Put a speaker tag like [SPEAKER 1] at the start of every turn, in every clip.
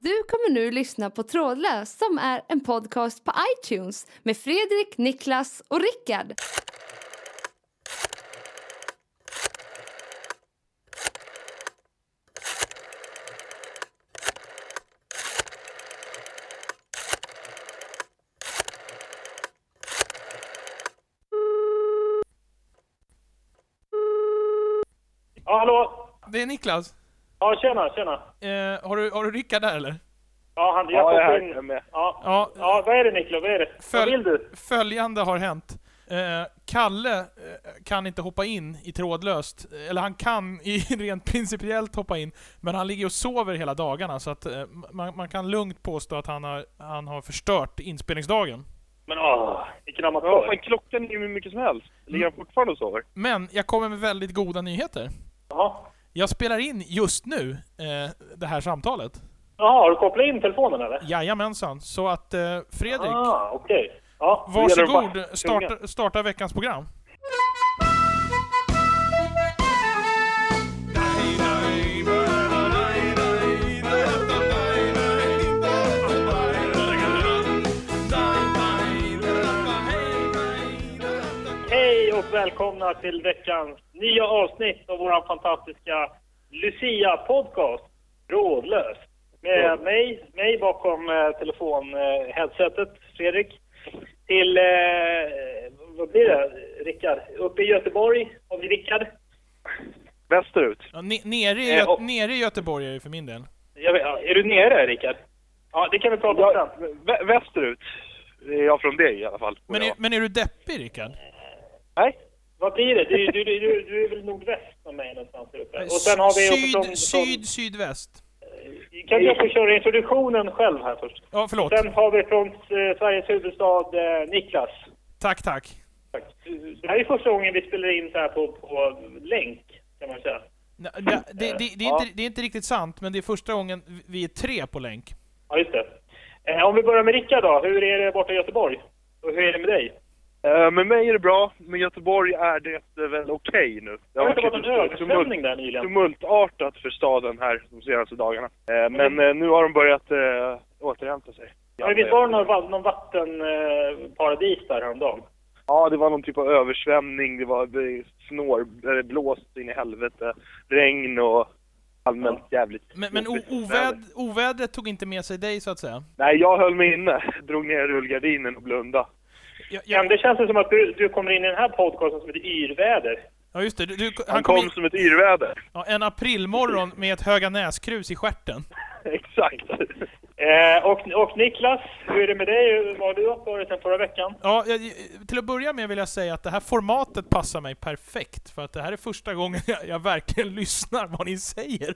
[SPEAKER 1] Du kommer nu lyssna på Trådlös som är en podcast på iTunes med Fredrik, Niklas och Rickard.
[SPEAKER 2] Ja, hallå?
[SPEAKER 3] Det är Niklas.
[SPEAKER 2] Ja, tjena, tjena.
[SPEAKER 3] Eh, har, du, har du Rickard där eller?
[SPEAKER 2] Ja, han, jag
[SPEAKER 4] Ja, jag är
[SPEAKER 2] ja,
[SPEAKER 4] här.
[SPEAKER 2] in.
[SPEAKER 4] Jag är med.
[SPEAKER 2] Ja. Ja.
[SPEAKER 3] Ja.
[SPEAKER 2] vad är det Niklas? Vad är det?
[SPEAKER 3] Föl-
[SPEAKER 2] Vad vill du?
[SPEAKER 3] Följande har hänt. Eh, Kalle eh, kan inte hoppa in i trådlöst. Eller han kan i, rent principiellt hoppa in, men han ligger och sover hela dagarna så att eh, man, man kan lugnt påstå att han har, han har förstört inspelningsdagen.
[SPEAKER 2] Men ah, åh, vilken
[SPEAKER 4] Ja,
[SPEAKER 2] amatör.
[SPEAKER 4] fan, klockan är ju hur mycket som helst. Ligger
[SPEAKER 2] Mm.
[SPEAKER 4] han fortfarande och sover?
[SPEAKER 3] Men jag kommer med väldigt goda nyheter.
[SPEAKER 2] Jaha.
[SPEAKER 3] Jag spelar in just nu eh, det här samtalet.
[SPEAKER 2] Jaha, har du kopplat in telefonen eller?
[SPEAKER 3] Jajamensan. Så att eh, Fredrik,
[SPEAKER 2] Ah, okej. Ja.
[SPEAKER 4] gäller det att
[SPEAKER 3] varsågod,
[SPEAKER 4] bara-
[SPEAKER 3] starta, starta veckans program.
[SPEAKER 2] Hej och välkomna till veckans nya avsnitt av vår fantastiska Lucia-podcast, Rådlös. Med mig, mig bakom eh, telefonheadsetet, Fredrik, till, eh, vad blir det, Rickard? Uppe i Göteborg har vi Rickard.
[SPEAKER 4] Västerut.
[SPEAKER 3] Ja, ne- nere, i
[SPEAKER 2] Eh,
[SPEAKER 3] Gö-
[SPEAKER 2] och-
[SPEAKER 3] nere i Göteborg är det för min del.
[SPEAKER 2] Jag vet, ja, är du nere, Rickard? Ja, det kan vi prata om
[SPEAKER 4] Ja,
[SPEAKER 2] sen.
[SPEAKER 4] vä- västerut är jag från dig i alla fall.
[SPEAKER 3] Men är,
[SPEAKER 4] Ja.
[SPEAKER 3] men är du deppig Rickard?
[SPEAKER 4] Nej?
[SPEAKER 2] Vad blir det? Du, du, du, du, du är väl nordväst om mig någonstans där uppe? Eh, Och sen har vi
[SPEAKER 3] syd,
[SPEAKER 2] också från,
[SPEAKER 3] syd, sydväst.
[SPEAKER 2] från, Kan jag få köra introduktionen själv här först?
[SPEAKER 3] Ja, förlåt.
[SPEAKER 2] Sen har vi från eh, Sveriges huvudstad eh, Niklas.
[SPEAKER 3] Tack, tack.
[SPEAKER 2] Tack. Det här är första gången vi spelar in så här på, på länk, kan man säga.
[SPEAKER 3] Nej, Det, det, det, det, är
[SPEAKER 2] Eh, Ja.
[SPEAKER 3] inte, det är inte riktigt sant, men det är första gången vi- vi är tre på länk.
[SPEAKER 2] Ja, just det. Eh, om vi börjar med Rickard då. Hur är det borta i Göteborg? Och hur är det med dig?
[SPEAKER 4] Eh, Med mig är det bra, med Göteborg är det eh, väl okej nu. Det
[SPEAKER 2] Det har inte varit en
[SPEAKER 4] varit tumult,
[SPEAKER 2] översvämning där nyligen.
[SPEAKER 4] tumultartat för staden här de senaste dagarna. Eh, Men eh, nu har de börjat eh, återhämta sig.
[SPEAKER 2] Mm. Ja, men visst var det någon, va- någon vattenparadis där häromdagen?
[SPEAKER 4] Ja, det var någon typ av översvämning, det var eh, snår, eller blåst in i helvete, regn och allmänt jävligt.
[SPEAKER 3] Men, men o-
[SPEAKER 4] jobbigt väder.
[SPEAKER 3] oväd, ovädret tog inte med sig dig, så att säga?
[SPEAKER 4] Nej, jag höll mig inne, drog ner rullgardinen och blundade.
[SPEAKER 3] Jag,
[SPEAKER 2] Ja.
[SPEAKER 3] jag,
[SPEAKER 2] Det känns ju som att du, du kommer in i den här podcasten som ett yrväder.
[SPEAKER 3] ja, just det. Du, du,
[SPEAKER 4] Han, kom,
[SPEAKER 3] in,
[SPEAKER 4] som ett yrväder.
[SPEAKER 3] ja, en aprilmorgon med ett Höga Näskrus i stjärten.
[SPEAKER 4] Exakt.
[SPEAKER 2] Eh, och, och Niklas, hur är det med dig? Hur har du varit sen förra veckan?
[SPEAKER 3] Ja, jag, eh, till att börja med vill jag säga att det här formatet passar mig perfekt, för att det här är första gången jag, jag verkligen lyssnar vad ni säger.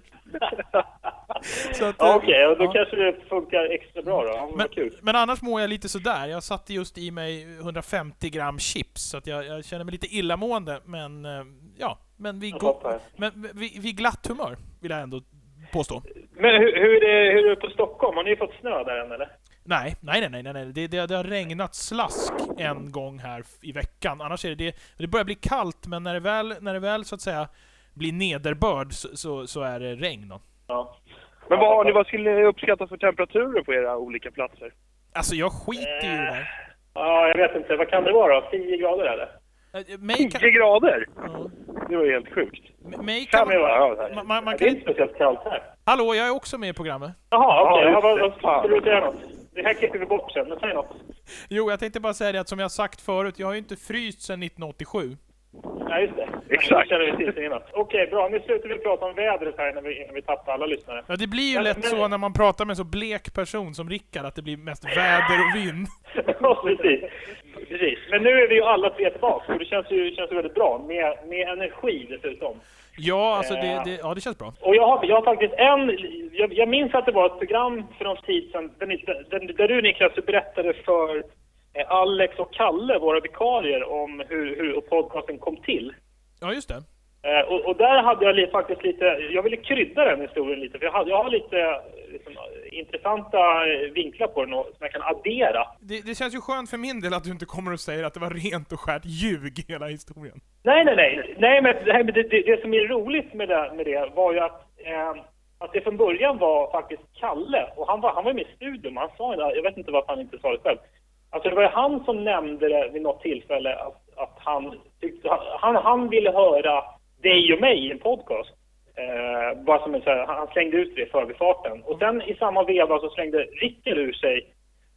[SPEAKER 3] Så att,
[SPEAKER 2] Ja,
[SPEAKER 3] eh,
[SPEAKER 2] Okej, och då
[SPEAKER 3] ja.
[SPEAKER 2] kanske det funkar extra bra då. Ja, men,
[SPEAKER 3] men,
[SPEAKER 2] vad kul.
[SPEAKER 3] men annars mår jag lite sådär. Jag satte just i mig 150 gram chips, så att jag, jag känner mig lite illamående, men eh, ja, men vi, go-
[SPEAKER 2] fattar.
[SPEAKER 3] men vi, vi glatt humör, vill jag ändå påstå.
[SPEAKER 2] Men hur, hur, är det, hur är det på Stockholm? Har ni fått snö där än eller?
[SPEAKER 3] Nej, nej, nej, nej, nej, nej. Det, det, det har regnat slask en gång här f- i veckan. Annars är det, det, det börjar bli kallt, men när det väl, när det väl så att säga blir nederbörd så, så, så är det regn. Då.
[SPEAKER 2] Ja.
[SPEAKER 4] Men vad har ni, vad skulle ni uppskatta för temperaturer på era olika platser?
[SPEAKER 3] Alltså jag skiter ju i det där.
[SPEAKER 2] Ja, jag vet inte. Vad kan det vara då? 10 grader eller?
[SPEAKER 3] Eh, Mig
[SPEAKER 4] 10
[SPEAKER 3] kan,
[SPEAKER 4] grader!
[SPEAKER 3] ja.
[SPEAKER 4] Det var ju helt sjukt.
[SPEAKER 3] M- mig
[SPEAKER 2] Kan
[SPEAKER 3] kan,
[SPEAKER 2] det vara.
[SPEAKER 4] Ja, det här-
[SPEAKER 3] man, man, man
[SPEAKER 2] det är
[SPEAKER 3] kan,
[SPEAKER 2] inte speciellt kallt här.
[SPEAKER 3] hallå, jag är också med i programmet.
[SPEAKER 2] Jaha, okej.
[SPEAKER 4] Ja,
[SPEAKER 2] Ja,
[SPEAKER 4] just
[SPEAKER 2] vad-
[SPEAKER 4] det.
[SPEAKER 2] vad-
[SPEAKER 4] Fan.
[SPEAKER 2] Skulle du säga något? Det här klipper vi bort sen, men säg något.
[SPEAKER 3] Jo, jag tänkte bara säga det att som jag sagt förut, jag har ju inte fryst sedan 1987.
[SPEAKER 2] Ja, just det.
[SPEAKER 4] Exakt.
[SPEAKER 2] Det känner vi till sen innan. Okej, bra. Nu slutar vi prata om vädret här innan vi, innan vi tappar alla lyssnare.
[SPEAKER 3] Ja, det blir ju
[SPEAKER 2] Men-
[SPEAKER 3] lätt
[SPEAKER 2] men-
[SPEAKER 3] så när man pratar med en så blek person som Rickard, att det blir mest väder och vind.
[SPEAKER 2] Ja, precis. precis. Men nu är vi ju alla tre tillbaka, så det känns ju, känns ju väldigt bra. Med, med energi dessutom.
[SPEAKER 3] Ja, alltså det, det, ja, det känns bra.
[SPEAKER 2] Och jag har, jag har faktiskt en... Jag, jag minns att det var ett program för någon tid sedan där, ni- där, där du Niklas du berättade för eh, Alex och Kalle, våra vikarier, om hur, hur podcasten kom till.
[SPEAKER 3] Ja, just det.
[SPEAKER 2] Eh, och, och där hade jag li, faktiskt lite... Jag ville krydda den historien lite, för jag, hade, jag har lite eh, liksom, intressanta eh, vinklar på den och, som jag kan addera.
[SPEAKER 3] Det, det känns ju skönt för min del att du inte kommer och säger att det var rent och skärt ljug hela historien.
[SPEAKER 2] Nej, nej, nej. nej men, nej, men det, det, det som är roligt med det, med det var ju att eh, att det från början var faktiskt Kalle, och han var, han var med i studion, men han sa det, jag vet inte varför han inte sa det själv. Alltså det var ju han som nämnde det vid något tillfälle att, att han, tyckte, han, han ville höra dig och mig i en podcast. Eh, bara som en, så här, han slängde ut det i förbifarten. Och sen i samma veva så slängde Rickard ur sig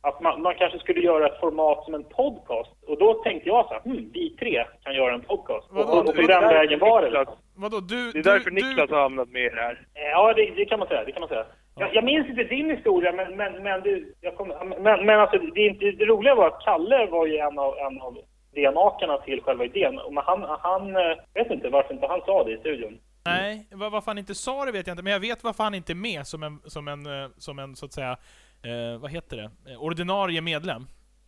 [SPEAKER 2] att man, man kanske skulle göra ett format som en podcast. Och då tänkte jag så här, hm, vi tre kan göra en podcast. Och,
[SPEAKER 3] Vadå,
[SPEAKER 2] och, och på
[SPEAKER 3] det är
[SPEAKER 2] den
[SPEAKER 4] därför
[SPEAKER 2] vägen var det.
[SPEAKER 4] Niklas-
[SPEAKER 2] liksom.
[SPEAKER 3] Vadå, du...
[SPEAKER 4] Det är
[SPEAKER 3] du,
[SPEAKER 4] därför
[SPEAKER 3] du,
[SPEAKER 4] Niklas har hamnat med i det här.
[SPEAKER 2] Eh, Ja, det, det kan man säga. Det kan man säga. Jag, jag minns inte din historia, men, men, men, du, jag kommer- men, men alltså, det, är inte, det roliga var att Kalle var ju en av, en av DNA-karna till själva idén. Men han, han, eh, vet inte varför inte han sa det i studion.
[SPEAKER 3] Nej, var, varför han inte sa det vet jag inte, men jag vet varför han inte är med som en, som en, eh, som en så att säga, eh, vad heter det? Eh, ordinarie medlem.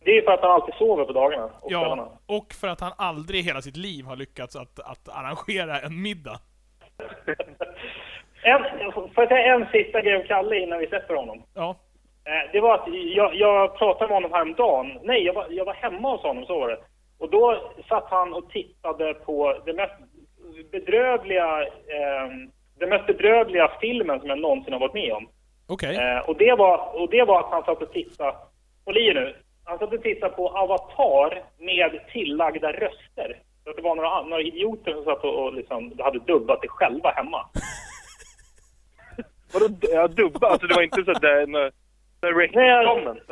[SPEAKER 2] Det är ju för att han alltid sover på dagarna och kvällarna.
[SPEAKER 3] Ja, och för att han aldrig i hela sitt liv har lyckats att, att arrangera en middag.
[SPEAKER 2] En, får jag säga en sista grej om Kalle innan vi släpper honom?
[SPEAKER 3] Ja.
[SPEAKER 2] Eh, Det var att jag, jag pratade med honom häromdagen. Nej, jag var, jag var hemma hos honom, så var det. Och då satt han och tittade på den mest bedrövliga, eh, den mest bedrövliga filmen som jag någonsin har varit med om.
[SPEAKER 3] Okej.
[SPEAKER 2] Eh, och, det var, och det var att han satt och tittade, håll i er nu, han satt och tittade på Avatar med tillagda röster. Så att det var några, några idioter som satt och, och liksom, hade dubbat det själva hemma.
[SPEAKER 4] Vadå d- ja, dubba? Alltså det var inte så att det är en...
[SPEAKER 2] Nej,
[SPEAKER 4] Direct-comments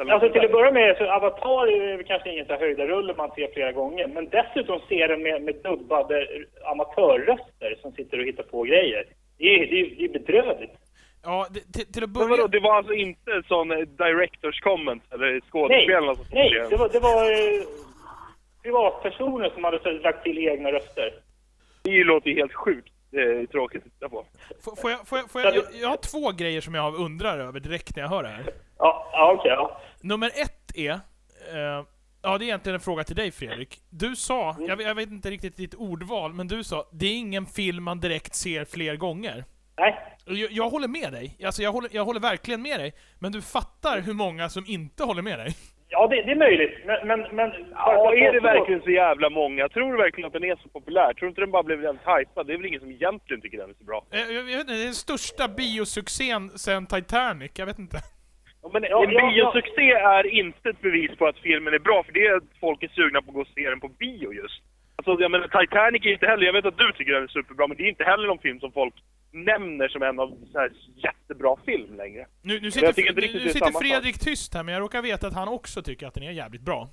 [SPEAKER 4] eller
[SPEAKER 2] alltså till
[SPEAKER 4] något sånt
[SPEAKER 2] att börja med så Avatar är ju kanske ingen så här höjdarrulle man ser flera gånger. Men dessutom ser den med, med dubbade amatörröster som sitter och hittar på grejer. Det är ju det är, det är bedrövligt.
[SPEAKER 3] Ja, det, till, till att
[SPEAKER 4] där. Men
[SPEAKER 3] börja...
[SPEAKER 4] vadå, det var alltså inte sån eh, directors comment eller
[SPEAKER 2] Nej,
[SPEAKER 4] skådespelarna alltså, som
[SPEAKER 2] nej
[SPEAKER 4] skrev?
[SPEAKER 2] det var, det var eh, privatpersoner som hade så här lagt till egna röster.
[SPEAKER 4] Det låter ju helt sjukt eh, tråkigt att titta på.
[SPEAKER 3] Får, får jag, får jag, får jag, jag, jag har två grejer som jag undrar över direkt när jag hör det här.
[SPEAKER 2] Ja, ja okej. ja.
[SPEAKER 3] Nummer ett är... Eh, ja, det är egentligen en fråga till dig Fredrik. Du sa, jag, jag vet inte riktigt ditt ordval, men du sa det är ingen film man direkt ser fler gånger.
[SPEAKER 2] Nej,
[SPEAKER 3] Jag, jag håller med dig. Alltså, jag, håller, jag håller verkligen med dig. Men du fattar hur många som inte håller med dig.
[SPEAKER 2] ja det, det är möjligt. Men... men, men
[SPEAKER 4] Ja, är
[SPEAKER 2] alltså-
[SPEAKER 4] det verkligen så jävla många? Tror du verkligen att den är så populär? Tror du inte den bara blev jävligt hypad? Det är väl ingen som egentligen tycker den är så bra?
[SPEAKER 3] Eh, Jag, jag vet inte, det är den största biosuccén sen Titanic, jag vet inte.
[SPEAKER 4] Ja, men
[SPEAKER 2] Ja,
[SPEAKER 4] en
[SPEAKER 2] ja,
[SPEAKER 4] biosuccé är inte ett bevis på att filmen är bra, för det är att folk är sugna på att gå och se den på bio just. Alltså, jag menar, Titanic är inte heller, jag vet att du tycker den är superbra, men det är inte heller någon film som folk nämner som en av så här jättebra film längre.
[SPEAKER 3] Nu, nu
[SPEAKER 4] jag
[SPEAKER 3] sitter,
[SPEAKER 4] tycker inte
[SPEAKER 3] nu,
[SPEAKER 4] riktigt
[SPEAKER 3] nu
[SPEAKER 4] det är
[SPEAKER 3] sitter
[SPEAKER 4] samma sak.
[SPEAKER 3] Fredrik tyst här, men jag råkar veta att han också tycker att den är jävligt bra.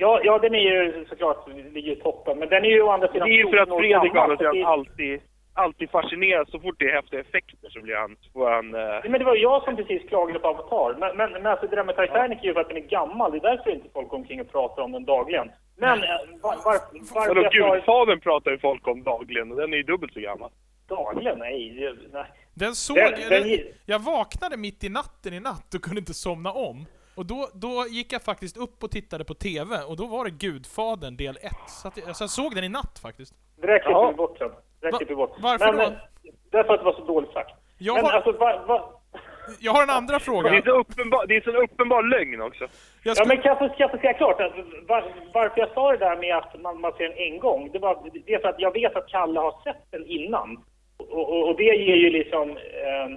[SPEAKER 2] Ja, ja, den är ju såklart, ligger i toppen. Men den är ju å andra
[SPEAKER 4] Det är
[SPEAKER 2] sidan
[SPEAKER 4] ju för att
[SPEAKER 2] 14 år
[SPEAKER 4] Fredrik å
[SPEAKER 2] gammal,
[SPEAKER 4] andra
[SPEAKER 2] så att det-
[SPEAKER 4] sidan alltid, alltid fascineras. Så fort det är häftiga effekter så blir han, så får han eh,
[SPEAKER 2] Nej, Men det var ju jag som precis klagade på Avatar. Men, men, men alltså det där med Titanic är ju för att den är gammal. Det är därför inte folk går omkring och pratar om den dagligen. Men eh, var, var, varför
[SPEAKER 4] Vadå,
[SPEAKER 2] jag sa
[SPEAKER 4] Gudfadern pratar ju folk om dagligen och den är ju dubbelt så gammal.
[SPEAKER 2] dagligen? Nej, det- nej.
[SPEAKER 3] Den såg...
[SPEAKER 2] Den- den-
[SPEAKER 3] jag- jag vaknade mitt i natten i natt och kunde inte somna om. Och då, då gick jag faktiskt upp och tittade på TV, och då var det Gudfadern del 1. Så, att, jag- så jag såg den i natt faktiskt.
[SPEAKER 2] Det där klipper
[SPEAKER 4] Jaha.
[SPEAKER 2] vi bort sen. Det där
[SPEAKER 3] Va-
[SPEAKER 2] klipper vi bort.
[SPEAKER 3] varför
[SPEAKER 2] men,
[SPEAKER 3] då?
[SPEAKER 2] eh, därför att det var så dåligt sagt.
[SPEAKER 3] Jag
[SPEAKER 2] men
[SPEAKER 3] har-
[SPEAKER 2] alltså, var, var...
[SPEAKER 3] Jag har en andra
[SPEAKER 4] Det är
[SPEAKER 3] fråga.
[SPEAKER 4] så uppenbar, det är så en uppenbar lögn också.
[SPEAKER 3] Jag
[SPEAKER 2] Ja,
[SPEAKER 3] skulle-
[SPEAKER 2] men kan jag få- kan jag få säga klart? Alltså, var, varför jag sa det där med att man, man ser den en gång, det, var, det är för att jag vet att Kalle har sett den innan. Och, och, och det ger ju liksom... ehm,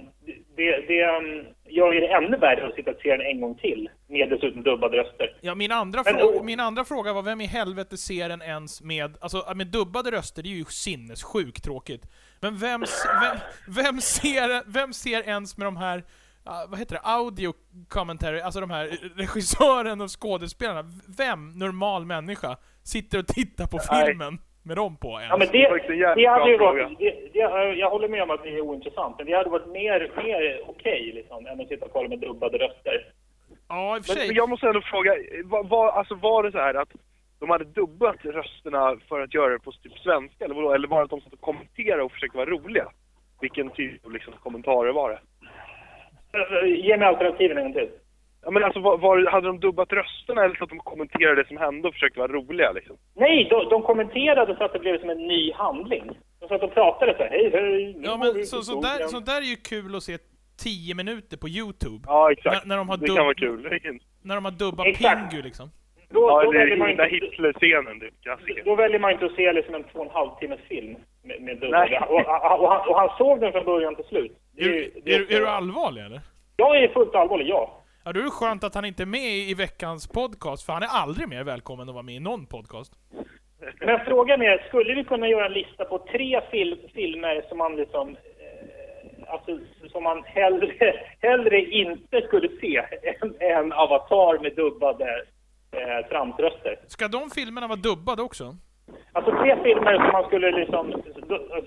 [SPEAKER 2] det, det ehm, gör ju det ännu värre att sitta och se den en gång till, med dessutom dubbade röster.
[SPEAKER 3] Ja, min, andra
[SPEAKER 2] Men-
[SPEAKER 3] fråga,
[SPEAKER 2] och-
[SPEAKER 3] min andra fråga var vem i helvete ser den ens med, alltså med dubbade röster, det är ju sinnessjukt tråkigt. Men vem, s- vem, vem, ser, vem ser ens med de här, ah, vad heter det, audio commentary, alltså de här eh, regissören och skådespelarna, vem normal människa sitter och tittar på
[SPEAKER 4] Nej.
[SPEAKER 3] filmen med dem på ens?
[SPEAKER 2] Ja, men det,
[SPEAKER 4] Det var faktiskt en jävligt
[SPEAKER 2] det hade ju
[SPEAKER 4] bra
[SPEAKER 2] varit, det, det, jag- jag håller med om att det är ointressant, men det hade varit mer, mer okej liksom, än att sitta och kolla med dubbade röster.
[SPEAKER 3] ja i och för
[SPEAKER 4] Men, men
[SPEAKER 3] sig.
[SPEAKER 4] jag måste ändå fråga, eh, vad, vad, alltså var det så här att de hade dubbat rösterna för att göra det på typ svenska eller vadå? Eller var det att de satt och kommenterade och försökte vara roliga? Vilken typ av liksom, kommentarer var det?
[SPEAKER 2] Eh, Ge mig alternativen en gång till.
[SPEAKER 4] Ja men alltså var, var, hade de dubbat rösterna eller så att de kommenterade det som hände och försökte vara roliga liksom?
[SPEAKER 2] Nej, de, de kommenterade så att det blev som en ny handling. De satt och pratade så här, hej hej. nu
[SPEAKER 3] Ja,
[SPEAKER 2] har vi
[SPEAKER 3] men så, så, där,
[SPEAKER 2] historien."
[SPEAKER 3] så där är ju kul att se 10 minuter på Youtube.
[SPEAKER 4] Ja exakt.
[SPEAKER 3] När- när de har
[SPEAKER 4] det
[SPEAKER 3] dubb-
[SPEAKER 4] kan vara kul.
[SPEAKER 3] När de har dubbat
[SPEAKER 2] Exakt.
[SPEAKER 3] Pingu liksom.
[SPEAKER 2] då,
[SPEAKER 4] Ja,
[SPEAKER 2] då,
[SPEAKER 4] eller
[SPEAKER 2] väljer man
[SPEAKER 4] den där
[SPEAKER 2] inte,
[SPEAKER 4] Hitler-scenen typ, klassiker.
[SPEAKER 2] då väljer man inte att se liksom en två och en halv timmes film med, med dubbade.
[SPEAKER 4] Nej.
[SPEAKER 2] Och, och, och, han, och han såg den från början till slut. Det
[SPEAKER 3] Är,
[SPEAKER 2] ju-
[SPEAKER 3] är,
[SPEAKER 2] det
[SPEAKER 3] är,
[SPEAKER 2] också-
[SPEAKER 3] du allvarlig eller?
[SPEAKER 2] Jag är fullt allvarlig, ja.
[SPEAKER 3] Ja, då är det skönt att han inte är med i veckans podcast, för han är aldrig mer välkommen att vara med i någon podcast.
[SPEAKER 2] Men frågan är, skulle vi kunna göra en lista på tre fil- filmer som man liksom... eh, Alltså, som man hellre, hellre inte skulle se än, än Avatar med dubbade eh, tramsröster.
[SPEAKER 3] Ska de filmerna vara dubbade också?
[SPEAKER 2] Alltså tre filmer som man skulle liksom...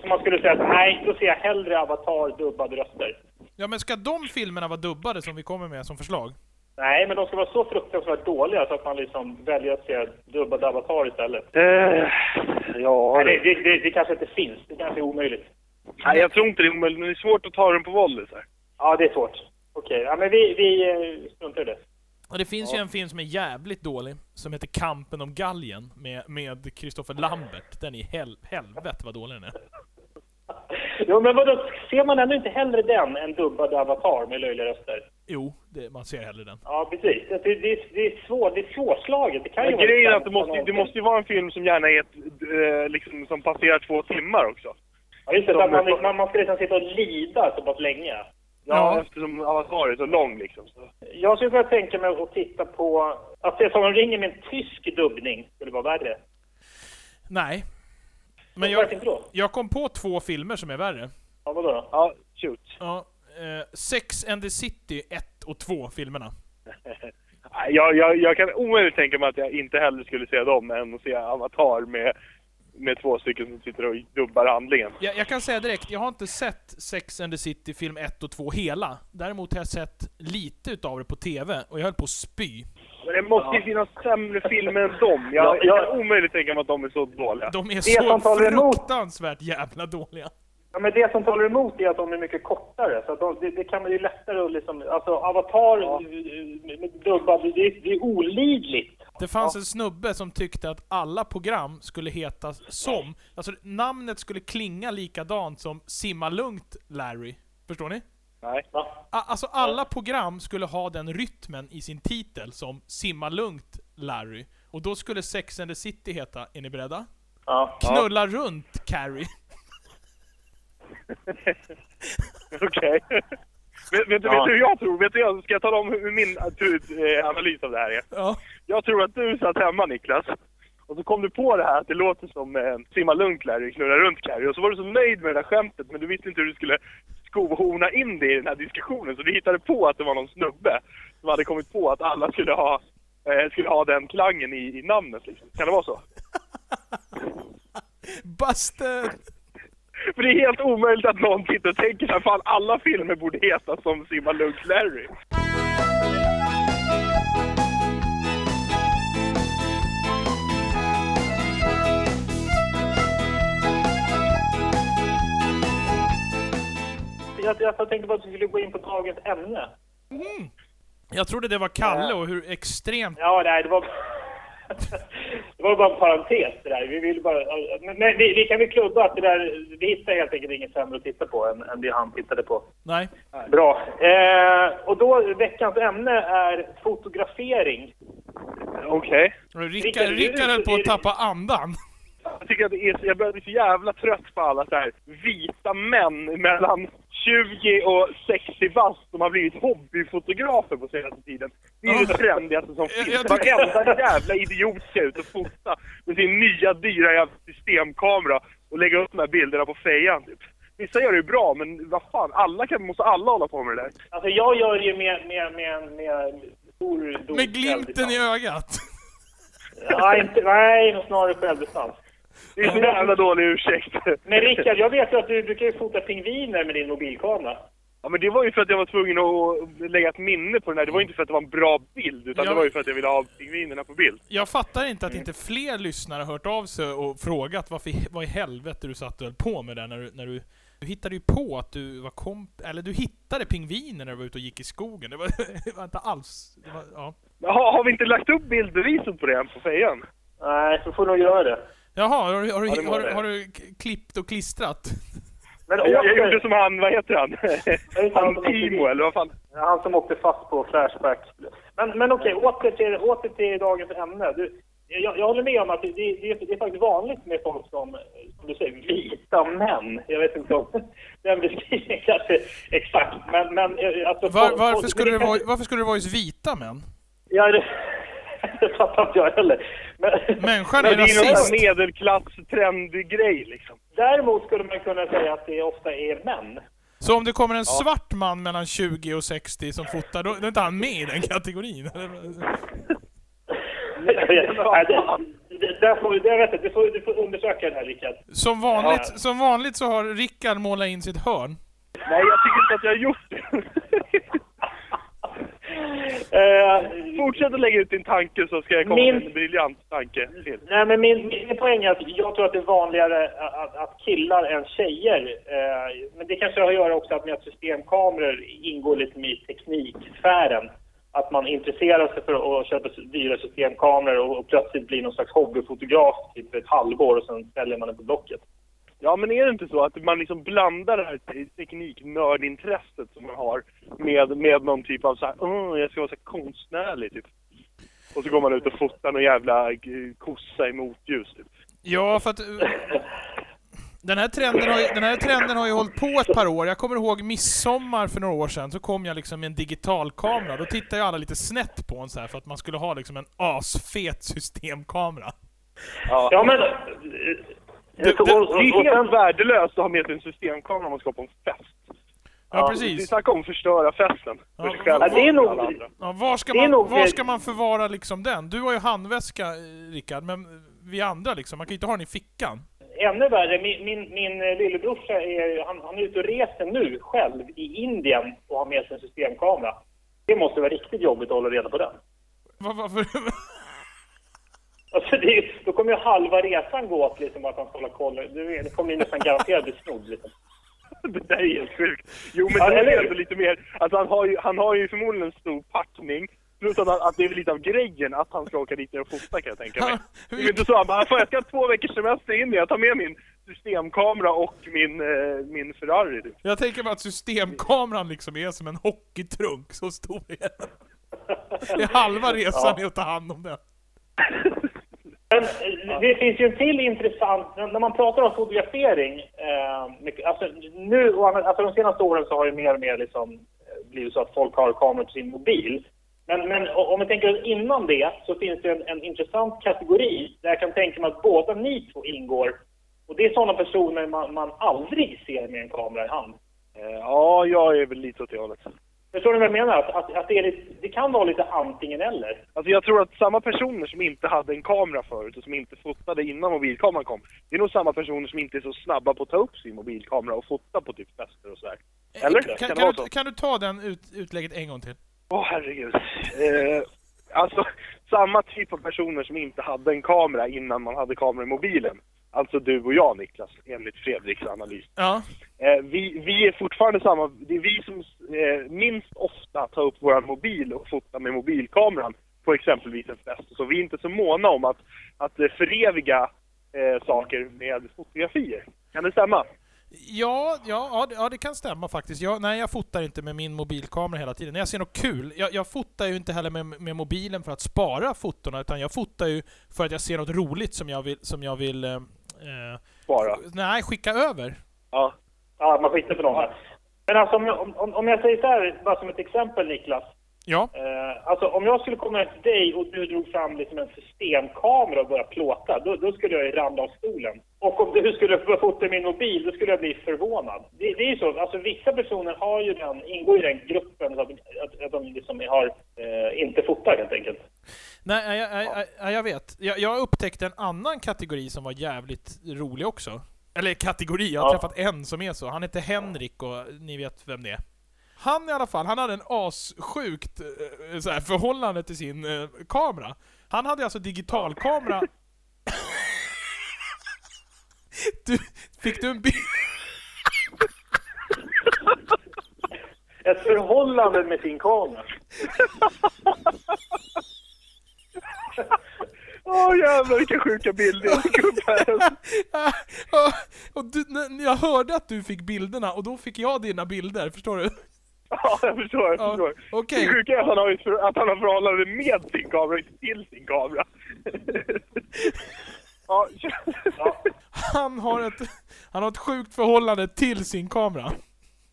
[SPEAKER 2] Som man skulle säga att nej, då ser jag hellre Avatar dubbade röster.
[SPEAKER 3] Ja, men ska de filmerna vara dubbade som vi kommer med som förslag?
[SPEAKER 2] Nej, men de ska vara så fruktansvärt dåliga så att man liksom väljer att se dubbad Avatar istället.
[SPEAKER 4] Eh, ja,
[SPEAKER 2] Nej, det, det, det, det kanske inte finns. Det kanske är omöjligt.
[SPEAKER 4] Nej, jag tror inte det är omöjligt, men det är svårt att ta den på volley så här.
[SPEAKER 2] Ja, det är svårt. Okej, ja, men vi, vi eh, struntar i det.
[SPEAKER 3] Och det finns ju en film som är jävligt dålig, som heter Kampen om galgen med, med Christopher Lambert. Den är hel, helvete vad dålig den är.
[SPEAKER 2] Jo, men vadå, ser man ändå inte hellre den än dubbad avatar med löjliga röster?
[SPEAKER 3] Jo, det, man ser hellre den.
[SPEAKER 2] Ja, precis. Det, det, det, är- det, är, svår, det är svårslaget. Det kan ju
[SPEAKER 4] Men
[SPEAKER 2] vara
[SPEAKER 4] grejen är att
[SPEAKER 2] spännande
[SPEAKER 4] det måste, det
[SPEAKER 2] någonting.
[SPEAKER 4] måste ju vara en film som gärna är ett, eh, liksom, som passerar två timmar också.
[SPEAKER 2] Ja, just det. så att Man,
[SPEAKER 4] som-
[SPEAKER 2] man, man ska liksom sitta och lida så pass länge.
[SPEAKER 4] Ja,
[SPEAKER 3] Ja.
[SPEAKER 4] eftersom Avatar är så lång liksom. Så.
[SPEAKER 2] Jag skulle kunna tänka mig att titta på... Att se som de ringer med en tysk dubbning skulle vara värre.
[SPEAKER 3] Nej.
[SPEAKER 2] Varför
[SPEAKER 3] Men jag,
[SPEAKER 2] inte då?
[SPEAKER 3] jag kom på två filmer som är värre.
[SPEAKER 2] Ja, vadå då?
[SPEAKER 4] Ja, shoot.
[SPEAKER 3] Ja, eh, Sex and the City 1 och 2 filmerna.
[SPEAKER 4] Nej, Jag, jag, jag kan omöjligt tänka mig att jag inte hellre skulle se dem än att se Avatar med, med två stycken som sitter och dubbar handlingen.
[SPEAKER 3] Jag, jag kan säga direkt, jag har inte sett Sex and the City film 1 och 2 hela. Däremot har jag sett lite utav det på TV, och jag höll på att spy.
[SPEAKER 4] Men det måste ju finnas sämre filmer än dem.
[SPEAKER 2] Ja,
[SPEAKER 4] Jag,
[SPEAKER 2] ja.
[SPEAKER 4] jag kan omöjligt tänka mig att de är så dåliga.
[SPEAKER 3] De är
[SPEAKER 2] som
[SPEAKER 3] så
[SPEAKER 2] talar emot.
[SPEAKER 3] fruktansvärt jävla dåliga.
[SPEAKER 2] Ja, men det som talar emot är att de är mycket kortare. Så att de, det, det kan man ju lättare att liksom... Alltså, Avatar ja. med dubbad, det, är- det är olidligt.
[SPEAKER 3] Det fanns en snubbe som tyckte att alla program skulle heta som, alltså namnet skulle klinga likadant som Simma Lugnt Larry. Förstår ni?
[SPEAKER 4] Nej.
[SPEAKER 2] Va?
[SPEAKER 3] A- Alltså alla program skulle ha den rytmen i sin titel som Simma Lugnt Larry. Och då skulle Sex and the City heta, är ni beredda?
[SPEAKER 2] Ja.
[SPEAKER 3] Knulla runt Carrie.
[SPEAKER 4] Okej. Vet, vet, du-
[SPEAKER 2] Ja.
[SPEAKER 4] vet du hur jag tror? Vet du, jag ska jag tala om hur min eh, analys av det här är?
[SPEAKER 3] Ja.
[SPEAKER 4] Jag tror att du satt hemma Niklas och så kom du på det här att det låter som eh, simma lugnt Larry, knulla runt Carrie och så var du så nöjd med det där skämtet men du visste inte hur du skulle skohorna in det i den här diskussionen så du hittade på att det var någon snubbe som hade kommit på att alla skulle ha, eh, skulle ha den klangen i, i namnet liksom. Kan det vara så?
[SPEAKER 3] Busted!
[SPEAKER 4] För det är helt omöjligt att någon sitter och tänker att fan alla filmer borde heta som simma lugnt Larry.
[SPEAKER 2] Jag, jag tänkte bara att vi skulle gå in på dagens ämne.
[SPEAKER 3] Jag trodde det var Kalle och hur extremt...
[SPEAKER 2] Ja, nej, det var... det var bara en parentes det där. Vi ville bara... Men, men vi, vi kan väl klubba att det där... Vi hittar helt enkelt inget sämre att titta på än, än det han tittade på.
[SPEAKER 3] Nej.
[SPEAKER 2] Bra. Eh, och då, veckans ämne är fotografering.
[SPEAKER 4] Okej.
[SPEAKER 3] Rickard, Rickard höll på att tappa andan.
[SPEAKER 4] Jag tycker att det är så, jag börjar bli så jävla trött på alla så här vita män mellan 20 och 60 bast som har blivit hobbyfotografer på senaste tiden. Det är det trendigaste som
[SPEAKER 3] Jag-
[SPEAKER 4] finns.
[SPEAKER 3] jag tycker-
[SPEAKER 4] Varenda jävla idiot ska ut och fota med sin nya dyra jävla systemkamera och lägga upp de här bilderna på fejan typ. Vissa gör det ju bra, men vad fan, alla kan, måste alla hålla på med det där?
[SPEAKER 2] Alltså jag gör det ju med, med, med, med stor dos
[SPEAKER 3] Med glimten i
[SPEAKER 2] självdistans.
[SPEAKER 3] ögat.
[SPEAKER 2] ja, inte, Nej, snarare självdistans.
[SPEAKER 4] Det är en jävla dålig ursäkt.
[SPEAKER 2] Men Rickard, jag vet ju att du brukar ju fota pingviner med din mobilkamera.
[SPEAKER 4] Ja men det var ju för att jag var tvungen att lägga ett minne på den här. Det var ju inte för att det var en bra bild, utan
[SPEAKER 3] Ja,
[SPEAKER 4] det var
[SPEAKER 3] men-
[SPEAKER 4] ju för att jag ville ha pingvinerna på bild.
[SPEAKER 3] Jag fattar inte att inte fler lyssnare har hört av sig och frågat varför, i- vad i helvete du satt och höll på med där när du, när du... Du hittade ju på att du var komp... Eller du hittade pingviner när du var ute och gick i skogen. Det var, det var inte alls... Det var, ja.
[SPEAKER 4] Har, har vi inte lagt upp bildbeviset på det än på fejan?
[SPEAKER 2] Nej, så får du nog göra det.
[SPEAKER 3] Jaha, har, du- har, du-
[SPEAKER 4] Ja, det må
[SPEAKER 3] har, du-
[SPEAKER 4] det.
[SPEAKER 3] har du k- klippt och klistrat?
[SPEAKER 2] Men
[SPEAKER 4] Jag, jag
[SPEAKER 2] åter-
[SPEAKER 4] gjorde som han, vad heter han?
[SPEAKER 2] det sant?
[SPEAKER 4] han Timo eller vad fan?
[SPEAKER 2] Ja, Han som åkte fast på Flashback. Men, men okej, åter, till, åter till dagens ämne. Du, Jag, jag håller med om att det, det, det, är- det är faktiskt vanligt med folk som, som du säger, vita män. Jag vet inte om den beskrivningen kanske exakt, men... men eh, alltså,
[SPEAKER 3] Var,
[SPEAKER 2] folk-
[SPEAKER 3] varför,
[SPEAKER 2] folk-
[SPEAKER 3] skulle det
[SPEAKER 2] kanske-
[SPEAKER 3] vara, varför skulle det vara just vita män?
[SPEAKER 2] Ja, det, det fattar inte jag heller. Men,
[SPEAKER 3] Människan
[SPEAKER 4] Men
[SPEAKER 3] är
[SPEAKER 4] det är ju någon sån
[SPEAKER 3] rasist.
[SPEAKER 4] här medelklasstrendig grej liksom.
[SPEAKER 2] däremot skulle man kunna säga att det ofta är män.
[SPEAKER 3] Så om det kommer en svart man mellan 20 och 60 som fotar, då, då är inte han med i den kategorin.
[SPEAKER 2] Nej, det, det, där får, det, jag vet inte, du, får, du får undersöka det här, Rickard.
[SPEAKER 3] Som vanligt, som vanligt så har Rickard målat in sitt hörn.
[SPEAKER 4] Nej, jag tycker inte att jag har gjort det.
[SPEAKER 2] Eh,
[SPEAKER 4] Fortsätt att lägga ut din tanke så ska jag komma med
[SPEAKER 2] Min-
[SPEAKER 4] en briljant tanke till.
[SPEAKER 2] nej, men min, min poäng är att jag tror att det är vanligare att, att killar än tjejer. Eh, men det kanske har att göra också att med att systemkameror ingår lite mer i tekniksfären. Att man intresserar sig för att köpa dyra systemkameror och, och plötsligt blir någon slags hobbyfotograf typ för ett halvår och sen säljer man den på Blocket.
[SPEAKER 4] Ja, men är det inte så att man liksom blandar det här te- tekniknördintresset som man har med, med någon typ av så här, "Åh, jag ska vara så här konstnärlig typ. Och så går man ut och fotar någon jävla eh, kossa i motljus typ.
[SPEAKER 3] Ja, för att... eh, Den här, trenden har ju, den här trenden har ju hållit på ett par år. Jag kommer ihåg midsommar för några år sedan, så kom jag liksom med en digitalkamera. Då tittade ju alla lite snett på en så här för att man skulle ha liksom en asfet systemkamera.
[SPEAKER 2] Ja, men... eh,
[SPEAKER 3] Det- det-
[SPEAKER 4] Det är ju helt värdelöst att ha med sig en systemkamera om man ska på en fest.
[SPEAKER 3] Ja,
[SPEAKER 4] Det är
[SPEAKER 3] precis.
[SPEAKER 4] snacka om att förstöra festen.
[SPEAKER 3] Ja,
[SPEAKER 4] För sig själv
[SPEAKER 2] ja, det är
[SPEAKER 4] och
[SPEAKER 2] nog-
[SPEAKER 4] alla andra.
[SPEAKER 3] Ja, var, ska
[SPEAKER 2] Det är
[SPEAKER 3] man,
[SPEAKER 2] nog-
[SPEAKER 3] var ska man förvara liksom den? Du har ju handväska, eh, Rickard, men vi andra liksom, man kan ju inte ha den i fickan.
[SPEAKER 2] Ännu värre, min, min, min eh, lillebrorsa är, han, han är ute och reser nu själv i Indien och har med sig en systemkamera. Det måste vara riktigt jobbigt att hålla reda på den.
[SPEAKER 3] Var, varför?
[SPEAKER 2] Alltså det, är- då kommer ju halva resan gå åt liksom att han ska hålla koll. Det, det kommer ju nästan garanterat bli snodd. Liksom.
[SPEAKER 4] Det där är helt sjukt. Jo, men
[SPEAKER 2] Ja,
[SPEAKER 4] det är
[SPEAKER 2] eller
[SPEAKER 4] ju
[SPEAKER 2] hur?
[SPEAKER 4] ändå lite mer... Alltså, han, har ju, han har ju förmodligen en stor packning. Plus att, han, att det är lite av grejen att han ska åka dit ner och fota kan jag tänka mig. Det är ju inte så att bara, fan jag ska ha två veckors semester in jag tar med min systemkamera och min, eh, min Ferrari. typ."
[SPEAKER 3] Jag tänker bara att systemkameran liksom är som en hockeytrunk, så stor är den. Det är halva resan är att ta hand om den.
[SPEAKER 2] Men eh, det finns ju en till intressant, när när man pratar om fotografering, eh, mycket- alltså, nu, och annat- alltså de senaste åren så har det mer och mer liksom eh, blivit så att folk har kameror på sin mobil. Men, men o- om vi tänker oss innan det så finns det en, en intressant kategori där jag kan tänka mig att båda ni två ingår. Och det är sådana personer man, man aldrig ser med en kamera i hand.
[SPEAKER 4] Eh, Ja, jag är väl lite åt det hållet.
[SPEAKER 2] Förstår ni vad jag menar? Att, att, att det, är lite, det kan vara lite antingen eller.
[SPEAKER 4] Alltså jag tror att samma personer som inte hade en kamera förut och som inte fotade innan mobilkameran kom, det är nog samma personer som inte är så snabba på att ta upp sin mobilkamera och fota på typ fester och sådär. Eller?
[SPEAKER 3] Eh, Kan,
[SPEAKER 4] Kan det
[SPEAKER 3] kan,
[SPEAKER 4] vara
[SPEAKER 3] du,
[SPEAKER 4] så?
[SPEAKER 3] kan du ta den ut, utlägget en gång till?
[SPEAKER 4] Åh herregud. Eh, alltså, samma typ av personer som inte hade en kamera innan man hade kamera i mobilen. Alltså du och jag Niklas, enligt Fredriks analys.
[SPEAKER 3] Ja.
[SPEAKER 4] Eh, vi, vi är fortfarande samma, det är vi som eh, minst ofta tar upp vår mobil och fotar med mobilkameran på exempelvis en fest. Så vi är inte så måna om att, att eh, föreviga eh, saker med fotografier. Kan det stämma?
[SPEAKER 3] Ja, ja, ja, det, ja, det kan stämma faktiskt. Jag, nej, jag fotar inte med min mobilkamera hela tiden. När jag ser något kul, jag, jag fotar ju inte heller med, med mobilen för att spara fotona, utan jag fotar ju för att jag ser något roligt som jag vill... Som jag vill eh, eh,
[SPEAKER 4] Bara.
[SPEAKER 3] nej, skicka över.
[SPEAKER 4] Ja.
[SPEAKER 2] Ja, man skiter på dem här. Men alltså om jag, om, om jag säger så här, bara som ett exempel Niklas.
[SPEAKER 3] Ja.
[SPEAKER 2] Eh, alltså om jag skulle komma till dig och du drog fram liksom en systemkamera och började plåta, då, då skulle jag ju ramla av stolen. Och om du skulle börja fota min mobil, då skulle jag bli förvånad. Det, det är ju så, alltså vissa personer har ju den, ingår i den gruppen så att, att, att de liksom har, eh, inte fotar helt enkelt.
[SPEAKER 3] Nej, nej, nej, nej, nej, jag vet. Jag, jag upptäckte en annan kategori som var jävligt rolig också. Eller kategori, jag har
[SPEAKER 2] Ja.
[SPEAKER 3] träffat en som är så. Han heter Henrik och ni vet vem det är. Han i alla fall, han hade en assjukt eh, så här, förhållande till sin eh, kamera. Han hade alltså digitalkamera... du, fick du en bild?
[SPEAKER 2] Ett förhållande med sin kamera.
[SPEAKER 4] Åh jävlar vilka sjuka bilder jag fick upp här.
[SPEAKER 3] och och du, när- när jag hörde att du fick bilderna och då fick jag dina bilder, förstår du?
[SPEAKER 4] Ja, jag förstår, jag
[SPEAKER 3] Ja,
[SPEAKER 4] förstår.
[SPEAKER 3] okej.
[SPEAKER 4] Det sjuka är att han har ju för- att han har förhållande med sin kamera, inte till sin kamera. ja, kö- ja,
[SPEAKER 3] Han har ett, han har ett sjukt förhållande till sin kamera.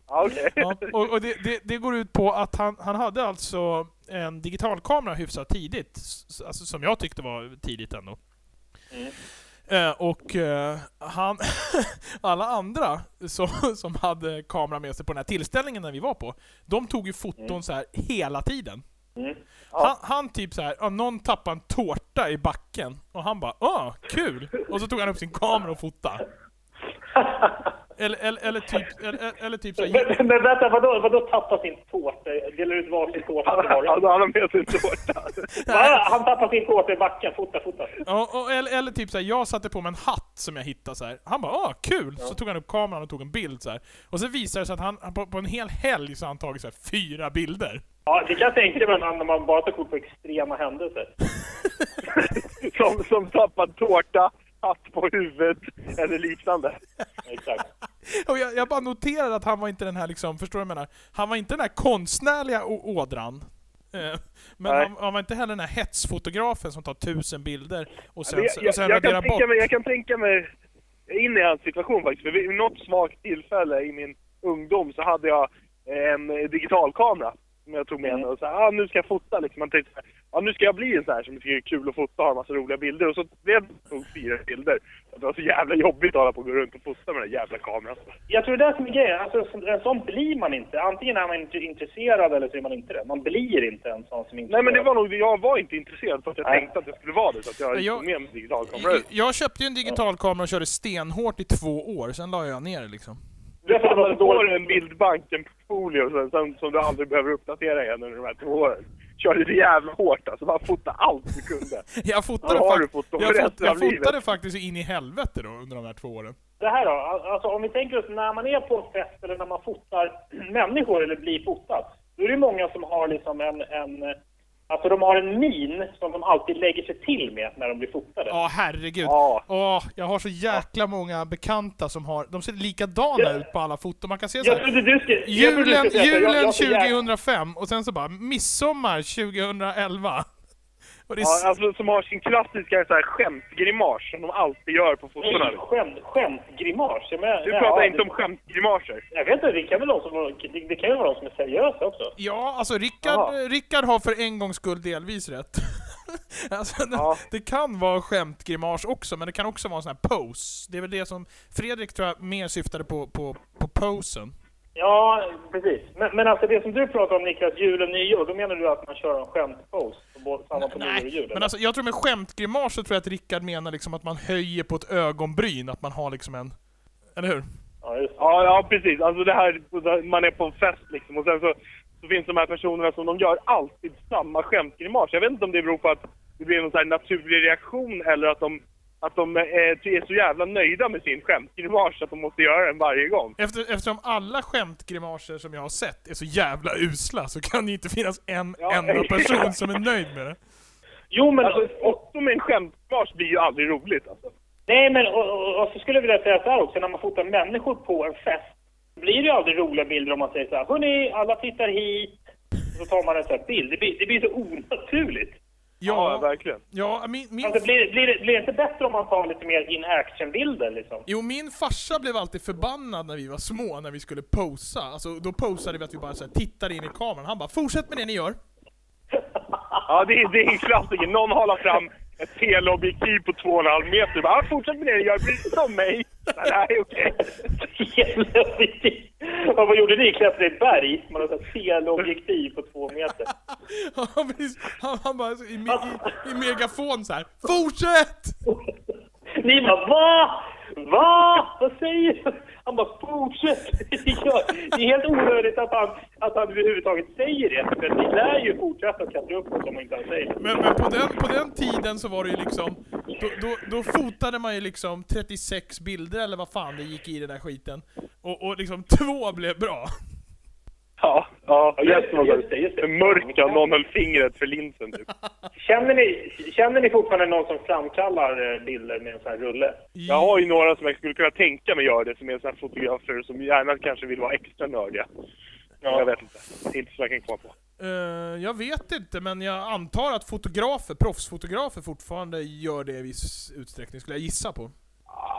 [SPEAKER 4] ja okej.
[SPEAKER 3] Ja, och och det, det, det går ut på att han, han hade alltså en digitalkamera hyfsat tidigt, s- alltså som jag tyckte var tidigt ändå. Eh, och eh, han, alla andra som, som hade kamera med sig på den här tillställningen när vi var på, de tog ju foton så här hela tiden. Han, han typ så här, ja, någon tappade en tårta i backen och han bara åh, kul! Och så tog han upp sin kamera och fotade. Eller, eller, eller typ, eller, eller typ så här,
[SPEAKER 2] Men, men vänta, vadå, vadå tappa sin tårta? Delar ut varsin tårta till var och en?
[SPEAKER 4] Alltså, han har med sig en tårta.
[SPEAKER 2] Va? Han tappar sin tårta i backen. Fota, fota.
[SPEAKER 3] Ja, och, eller, eller typ såhär, jag satte på mig en hatt som jag hittade så här. Han bara ah, kul! Så tog han upp kameran och tog en bild så här. Och så visar det sig att han, han på, på en hel helg så har han tagit så här, fyra bilder.
[SPEAKER 2] Ja, det kan jag tänka mig när man bara tar kort på extrema händelser.
[SPEAKER 4] Som, som tappad tårta, hatt på huvudet eller liknande.
[SPEAKER 2] Exakt.
[SPEAKER 3] Och jag, jag bara noterade att han var inte den här liksom, förstår du vad jag menar? Han var inte den här konstnärliga å- ådran. Eh, Men
[SPEAKER 4] Nej.
[SPEAKER 3] han, han var inte heller den här hetsfotografen som tar tusen bilder och sen,
[SPEAKER 4] Men
[SPEAKER 3] och
[SPEAKER 4] jag,
[SPEAKER 3] sen
[SPEAKER 4] jag, jag,
[SPEAKER 3] raderar
[SPEAKER 4] kan
[SPEAKER 3] bort.
[SPEAKER 4] tänka mig, jag kan tänka mig in i hans situation faktiskt. För vid något svagt tillfälle i min ungdom så hade jag en eh, digitalkamera som jag tog med
[SPEAKER 3] Mm.
[SPEAKER 4] mig och så här, ah, nu ska jag fota liksom. Man tänkte så här, ah, nu ska jag bli en sån här som tycker det är kul att fota och ha en massa roliga bilder. Och så blev det nog fyra bilder. Det var så jävla jobbigt att hålla på och gå runt och fota med den där jävla kameran.
[SPEAKER 2] Jag tror det är det som är grejen. Alltså, som- en sån blir man inte. Antingen är man inte intresserad eller så är man inte det. Man blir inte en sån som är
[SPEAKER 4] Nej
[SPEAKER 2] intresserad.
[SPEAKER 4] men det var nog, jag var inte intresserad för att jag
[SPEAKER 2] Nej.
[SPEAKER 4] tänkte att jag skulle vara det. Så att jag
[SPEAKER 3] Jag-
[SPEAKER 4] tog med mig en digitalkamera
[SPEAKER 3] Jag,
[SPEAKER 4] ut.
[SPEAKER 3] jag köpte ju en digital kamera och körde stenhårt i två år, sen la jag ner det liksom.
[SPEAKER 4] Du har får en bildbank, en portfolio sen, sen, som du aldrig behöver uppdatera igen under de här två åren. Körde så jävla hårt alltså, bara fota allt du kunde.
[SPEAKER 3] Jag fotade,
[SPEAKER 4] Då har
[SPEAKER 3] fakt-
[SPEAKER 4] du fot-
[SPEAKER 3] jag fot-
[SPEAKER 4] resten av
[SPEAKER 3] jag
[SPEAKER 4] livet.
[SPEAKER 3] fotade faktiskt in i helvete då under de här två åren.
[SPEAKER 2] Det här då, alltså om vi tänker oss när man är på en fest eller när man fotar människor eller blir fotad. Då är det många som har liksom en, en, alltså de har en min som de alltid lägger sig till med när de blir fotade.
[SPEAKER 3] Ja, herregud.
[SPEAKER 4] Ja.
[SPEAKER 3] Åh, jag har så jäkla många bekanta som har... De ser likadana
[SPEAKER 2] Ja.
[SPEAKER 3] ut på alla foton. Man kan se så
[SPEAKER 2] Jag
[SPEAKER 3] här,
[SPEAKER 2] trodde du skulle... jag trodde du
[SPEAKER 3] julen,
[SPEAKER 2] skulle säga så här, jag-
[SPEAKER 3] julen
[SPEAKER 2] jag ser jävla-
[SPEAKER 3] 2005 och sen så bara midsommar 2011. Och det är,
[SPEAKER 4] Ja,
[SPEAKER 3] s-
[SPEAKER 4] alltså som har sin klassiska så här, skämtgrimas som de alltid gör på fotona.
[SPEAKER 2] Nej, Skämt, skämtgrimas. Jag menar-
[SPEAKER 4] Du
[SPEAKER 2] Mm. ja,
[SPEAKER 4] pratar
[SPEAKER 2] det-
[SPEAKER 4] inte om skämtgrimaser.
[SPEAKER 2] Jag vet inte, det kan väl vara de som, det kan ju vara de som är seriösa också.
[SPEAKER 3] ja, alltså Rickard,
[SPEAKER 4] Jaha.
[SPEAKER 3] Rickard har för en gångs skull delvis rätt. alltså, det,
[SPEAKER 4] Ja.
[SPEAKER 3] det kan vara skämtgrimas också, men det kan också vara en sån här pose. Det är väl det som Fredrik tror jag mer syftade på, på, på posen.
[SPEAKER 2] Ja, precis. Men, men alltså det som du pratar om Niklas, jul och nyår, då menar du att man kör en skämtpose på både, samma på nyår och
[SPEAKER 3] Nej,
[SPEAKER 2] jul?
[SPEAKER 3] men
[SPEAKER 2] eller?
[SPEAKER 3] alltså, jag tror med skämtgrimas så tror jag att Rickard menar liksom att man höjer på ett ögonbryn, att man har liksom en... Eller hur?
[SPEAKER 2] ja, just det.
[SPEAKER 4] Ja, ja precis. Alltså det här, man är på en fest liksom och sen så, så finns de här personerna som de gör alltid samma skämtgrimas. Jag vet inte om det beror på att det blir någon så här naturlig reaktion eller att de, att de är, är så jävla nöjda med sin skämtgrimas att de måste göra den varje gång.
[SPEAKER 3] Efter, eftersom alla skämtgrimaser som jag har sett är så jävla usla så kan det inte finnas en
[SPEAKER 4] Ja,
[SPEAKER 3] enda
[SPEAKER 4] exakt.
[SPEAKER 3] person som är nöjd med det.
[SPEAKER 2] Jo, men...
[SPEAKER 4] Alltså ett foto med en skämtmars blir ju aldrig roligt alltså.
[SPEAKER 2] Nej, men och, och, och så skulle jag vilja säga så här också, när man fotar människor på en fest blir det ju aldrig roliga bilder om man säger så här, hörni, alla tittar hit, och så tar man en sån här bild. Det blir, det blir så onaturligt.
[SPEAKER 3] Ja,
[SPEAKER 4] verkligen.
[SPEAKER 3] ja min, min,
[SPEAKER 2] Alltså blir, blir, det, blir det inte bättre om man tar lite mer in action-bilder liksom?
[SPEAKER 3] jo, min farsa blev alltid förbannad när vi var små, när vi skulle posa. Alltså, då posade vi att vi bara så här, tittade in i kameran. Han bara 'Fortsätt med det ni gör'
[SPEAKER 4] Ja, det är, det är en klassiker. Någon håller fram ett teleobjektiv på 2,5 meter bara, "Ah, fortsätt med det, gör precis som mig. Nej, Nej, okej.
[SPEAKER 2] Jävla skit. Ja, Vad gjorde ni? Klättrade i ett berg? Man har ett teleobjektiv på två meter.
[SPEAKER 3] Han, precis- han, han bara så, i, me- i, i megafon så här 'Fortsätt!'
[SPEAKER 2] Ni bara va? Va? Vad säger du? Han bara fortsätt. Ja, Det är helt onödigt att han, att han överhuvudtaget säger det. För ni lär ju fortsätta klättra uppåt om inte han säger det.
[SPEAKER 3] Men, men på, den, på den tiden så var det ju liksom, då, då, då fotade man ju liksom 36 bilder eller vad fan det gick i den där skiten. Och, och liksom två blev bra.
[SPEAKER 4] Ja, ja.
[SPEAKER 2] just det, just det, just det.
[SPEAKER 4] Mörka, någon höll fingret för linsen typ.
[SPEAKER 2] Känner ni, känner ni fortfarande någon som framkallar eh, bilder med en sån här rulle?
[SPEAKER 4] Jag har ju några som jag skulle kunna tänka mig göra det, som är sådana här fotografer som gärna kanske vill vara extra nördiga.
[SPEAKER 2] Ja.
[SPEAKER 4] Jag vet inte. Det är inte så jag kan komma på.
[SPEAKER 3] Eh, jag vet inte, men jag antar att fotografer, proffsfotografer fortfarande gör det i viss utsträckning, skulle jag gissa på.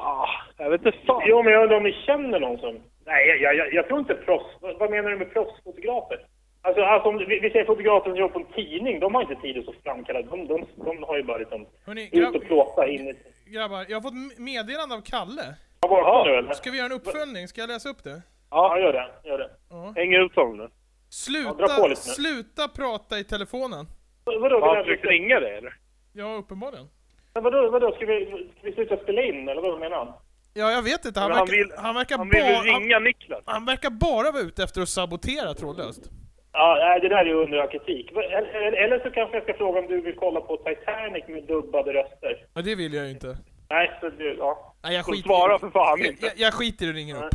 [SPEAKER 4] Ah, jag vet inte fan.
[SPEAKER 2] Jo, men jag undrar om ni känner någon som... Nej, jag- jag, jag, jag tror inte proffs... Vad vad menar du med proffsfotografer? Alltså, alltså om, vi, vi säger fotografer som jobbar på en tidning, de har inte tid att så framkalla. De, de, de har ju bara liksom...
[SPEAKER 3] Hörrni,
[SPEAKER 2] Ut och
[SPEAKER 3] grabb-
[SPEAKER 2] plåta in i...
[SPEAKER 3] grabbar, jag har fått m- meddelande av Kalle.
[SPEAKER 2] Har varit nu eller?
[SPEAKER 3] Ska vi göra en uppföljning? Ska jag läsa upp det?
[SPEAKER 2] Ja, gör det. Gör det.
[SPEAKER 4] Häng ut honom nu.
[SPEAKER 3] Sluta,
[SPEAKER 2] Ja, dra på lite nu.
[SPEAKER 3] sluta prata i telefonen.
[SPEAKER 2] Vad- Vadå,
[SPEAKER 4] Har
[SPEAKER 2] det
[SPEAKER 4] han
[SPEAKER 2] där,
[SPEAKER 4] försökt ringa dig eller?
[SPEAKER 3] Ja, uppenbarligen.
[SPEAKER 2] men vadå, vadå, ska vi, ska vi sluta spela in eller vad menar han?
[SPEAKER 3] Ja, jag vet inte. Han
[SPEAKER 4] Men han
[SPEAKER 3] verkar,
[SPEAKER 4] vill-
[SPEAKER 3] han verkar,
[SPEAKER 4] Han vill väl
[SPEAKER 3] ba- han,
[SPEAKER 4] ringa Niklas?
[SPEAKER 3] han verkar bara vara ute efter att sabotera trådlöst.
[SPEAKER 2] Ja, nej, det där är ju under kritik. Eller, eller så kanske jag ska fråga om du vill kolla på Titanic med dubbade röster.
[SPEAKER 3] Ja, det vill jag ju inte.
[SPEAKER 2] Nej, så du, ja.
[SPEAKER 3] Nej, jag
[SPEAKER 4] Så
[SPEAKER 3] skiter
[SPEAKER 4] svara för fan
[SPEAKER 3] jag,
[SPEAKER 4] inte.
[SPEAKER 3] jag, jag skiter i och ringer upp.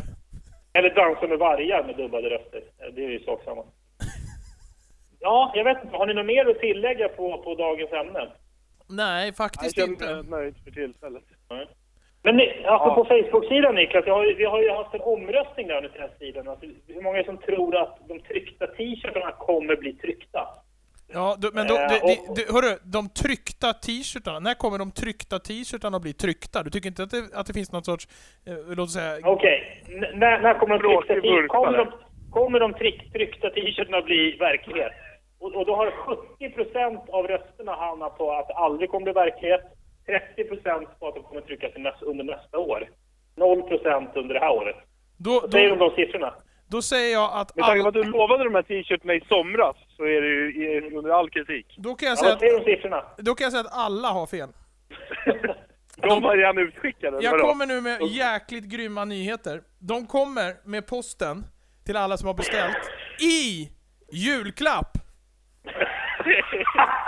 [SPEAKER 2] Eller dansa med vargar med dubbade röster. Det är ju sak samma. Ja, jag vet inte. Har ni något mer att tillägga på, på dagens ämne?
[SPEAKER 3] Nej, faktiskt
[SPEAKER 4] Jag
[SPEAKER 3] inte.
[SPEAKER 4] känner mig nöjd för tillfället.
[SPEAKER 2] Nej. Men ni, alltså på Facebook-sidan Niklas, jag har, ju- vi har ju haft en omröstning där under presstiden. Alltså, hur många är som tror att de tryckta t-shirtarna kommer bli tryckta?
[SPEAKER 3] Ja, du, men då,
[SPEAKER 2] Eh,
[SPEAKER 3] det, det,
[SPEAKER 2] och-
[SPEAKER 3] det, hörru, de tryckta t-shirtarna, när kommer de tryckta t-shirtarna att bli tryckta? Du tycker inte att det, att det finns någon sorts, eh, låt oss säga,
[SPEAKER 2] Okej, N- när, när kommer de
[SPEAKER 4] Bråkig
[SPEAKER 2] tryckta t-shirtarna? Kommer de,
[SPEAKER 4] burkare.
[SPEAKER 2] kommer de tryck, tryckta t-shirtarna bli verklighet? Och, och då har 70% av rösterna hamnat på att det aldrig kommer bli verklighet, 30% på att de kommer tryckas i näs- under nästa år, 0% under det här året.
[SPEAKER 3] då,
[SPEAKER 2] Det är ju
[SPEAKER 3] då,
[SPEAKER 2] de siffrorna.
[SPEAKER 3] då säger jag att,
[SPEAKER 4] Med tanke
[SPEAKER 3] all,
[SPEAKER 4] på att du lovade de här t-shirtarna i somras så är det ju är under all kritik.
[SPEAKER 3] då, kan jag säga
[SPEAKER 2] Ja,
[SPEAKER 3] att,
[SPEAKER 2] det är de siffrorna.
[SPEAKER 3] då kan jag säga att alla har fel.
[SPEAKER 4] De var redan utskickade, eller
[SPEAKER 3] Jag
[SPEAKER 4] vadå?
[SPEAKER 3] kommer nu med jäkligt grymma nyheter. De kommer med posten till alla som har beställt i julklapp!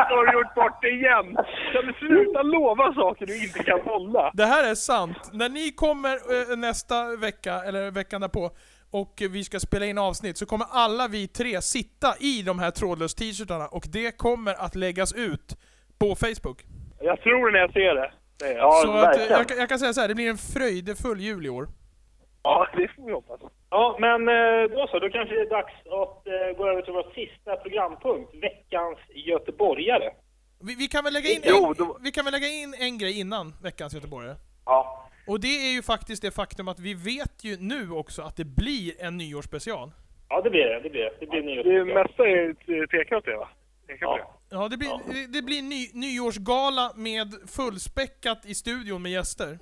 [SPEAKER 4] Då har du gjort bort det igen! Kan du sluta lova saker du inte kan hålla?
[SPEAKER 3] Det här är sant. När ni kommer eh, nästa vecka, eller veckan därpå, och vi ska spela in avsnitt så kommer alla vi tre sitta i de här trådlös t-shirtarna och det kommer att läggas ut på Facebook.
[SPEAKER 4] Jag tror det när jag ser det. det är jag.
[SPEAKER 2] Ja,
[SPEAKER 3] Så att, eh,
[SPEAKER 2] verkligen.
[SPEAKER 3] jag, kan- jag kan säga så här, det blir en fröjdefull jul i år.
[SPEAKER 4] ja, det får vi hoppas.
[SPEAKER 2] Ja, men eh, då så. Då kanske det är dags att eh, gå över till vår sista programpunkt, veckans göteborgare.
[SPEAKER 3] Vi, vi, kan väl lägga in
[SPEAKER 4] Jo,
[SPEAKER 3] en,
[SPEAKER 4] då-
[SPEAKER 3] vi kan väl lägga in en grej innan veckans göteborgare.
[SPEAKER 2] Ja.
[SPEAKER 3] Och det är ju faktiskt det faktum att vi vet ju nu också att det blir en nyårsspecial.
[SPEAKER 2] Ja, det blir det. Det blir det. Det blir nyårs-
[SPEAKER 4] Det mesta är ju tecknat det va? Tecknat
[SPEAKER 2] Ja.
[SPEAKER 4] det.
[SPEAKER 3] Ja, det blir, Det blir ny, nyårsgala med fullspäckat i studion med gäster.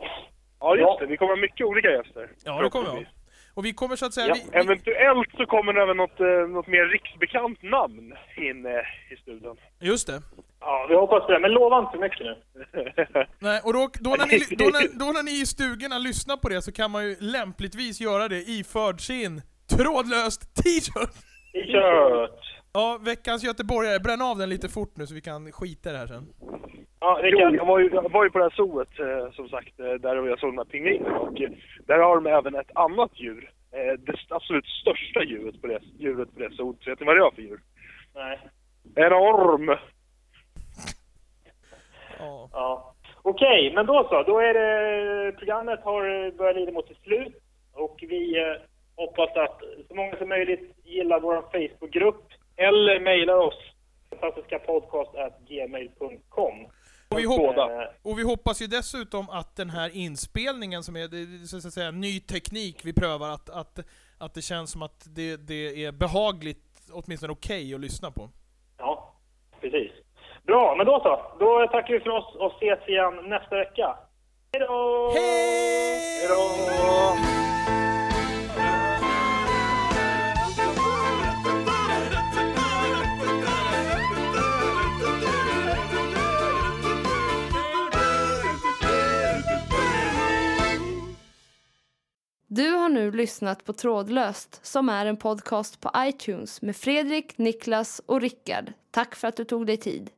[SPEAKER 4] Ja, just
[SPEAKER 2] Ja.
[SPEAKER 4] det. Vi kommer ha mycket olika gäster.
[SPEAKER 3] Ja, det kommer jag.
[SPEAKER 4] Förhoppningsvis.
[SPEAKER 3] Och vi kommer så att säga...
[SPEAKER 2] Ja,
[SPEAKER 3] vi, vi,
[SPEAKER 4] Eventuellt så kommer det även något, eh, något mer riksbekant namn in eh, i studion.
[SPEAKER 3] just det.
[SPEAKER 2] Ja, vi hoppas på det. Men lova inte för mycket nu.
[SPEAKER 3] Nej, och då, då, när ni, då, när, då när ni i stugorna lyssnar på det så kan man ju lämpligtvis göra det iförd sin trådlöst t-shirt!
[SPEAKER 2] T-shirt!
[SPEAKER 3] Ja, veckans göteborgare. Bränn av den lite fort nu så vi kan skita i det här sen.
[SPEAKER 2] Ja,
[SPEAKER 4] Jo,
[SPEAKER 2] Rickard.
[SPEAKER 4] jag var ju, jag var ju på det här zooet eh, som sagt, eh, där jag såg de här pingvinerna och eh, där har de även ett annat djur. Eh, det st- absolut största djuret på det, djuret på det zoot. Vet ni vad det är för djur?
[SPEAKER 2] Nej.
[SPEAKER 4] En orm!
[SPEAKER 3] Ja.
[SPEAKER 2] Ja. Okej, men då så. Då är det... Programmet har börjat lida mot sitt slut. Och vi eh, hoppas att så många som möjligt gillar vår Facebookgrupp eller mejlar oss. Fantastiska podcast gmail.com.
[SPEAKER 3] Och vi, hop-
[SPEAKER 2] Båda.
[SPEAKER 3] och vi hoppas ju dessutom att den här inspelningen som är det- det- så att säga, ny teknik vi prövar, att, att, att det känns som att det, det är behagligt, åtminstone okej, att lyssna på.
[SPEAKER 2] Ja, precis. Bra, men då så. Då tackar vi för oss och ses igen nästa vecka. Hej då!
[SPEAKER 3] Hej!
[SPEAKER 2] då!
[SPEAKER 1] Du har nu lyssnat på Trådlöst som är en podcast på iTunes med Fredrik, Niklas och Rickard. Tack för att du tog dig tid.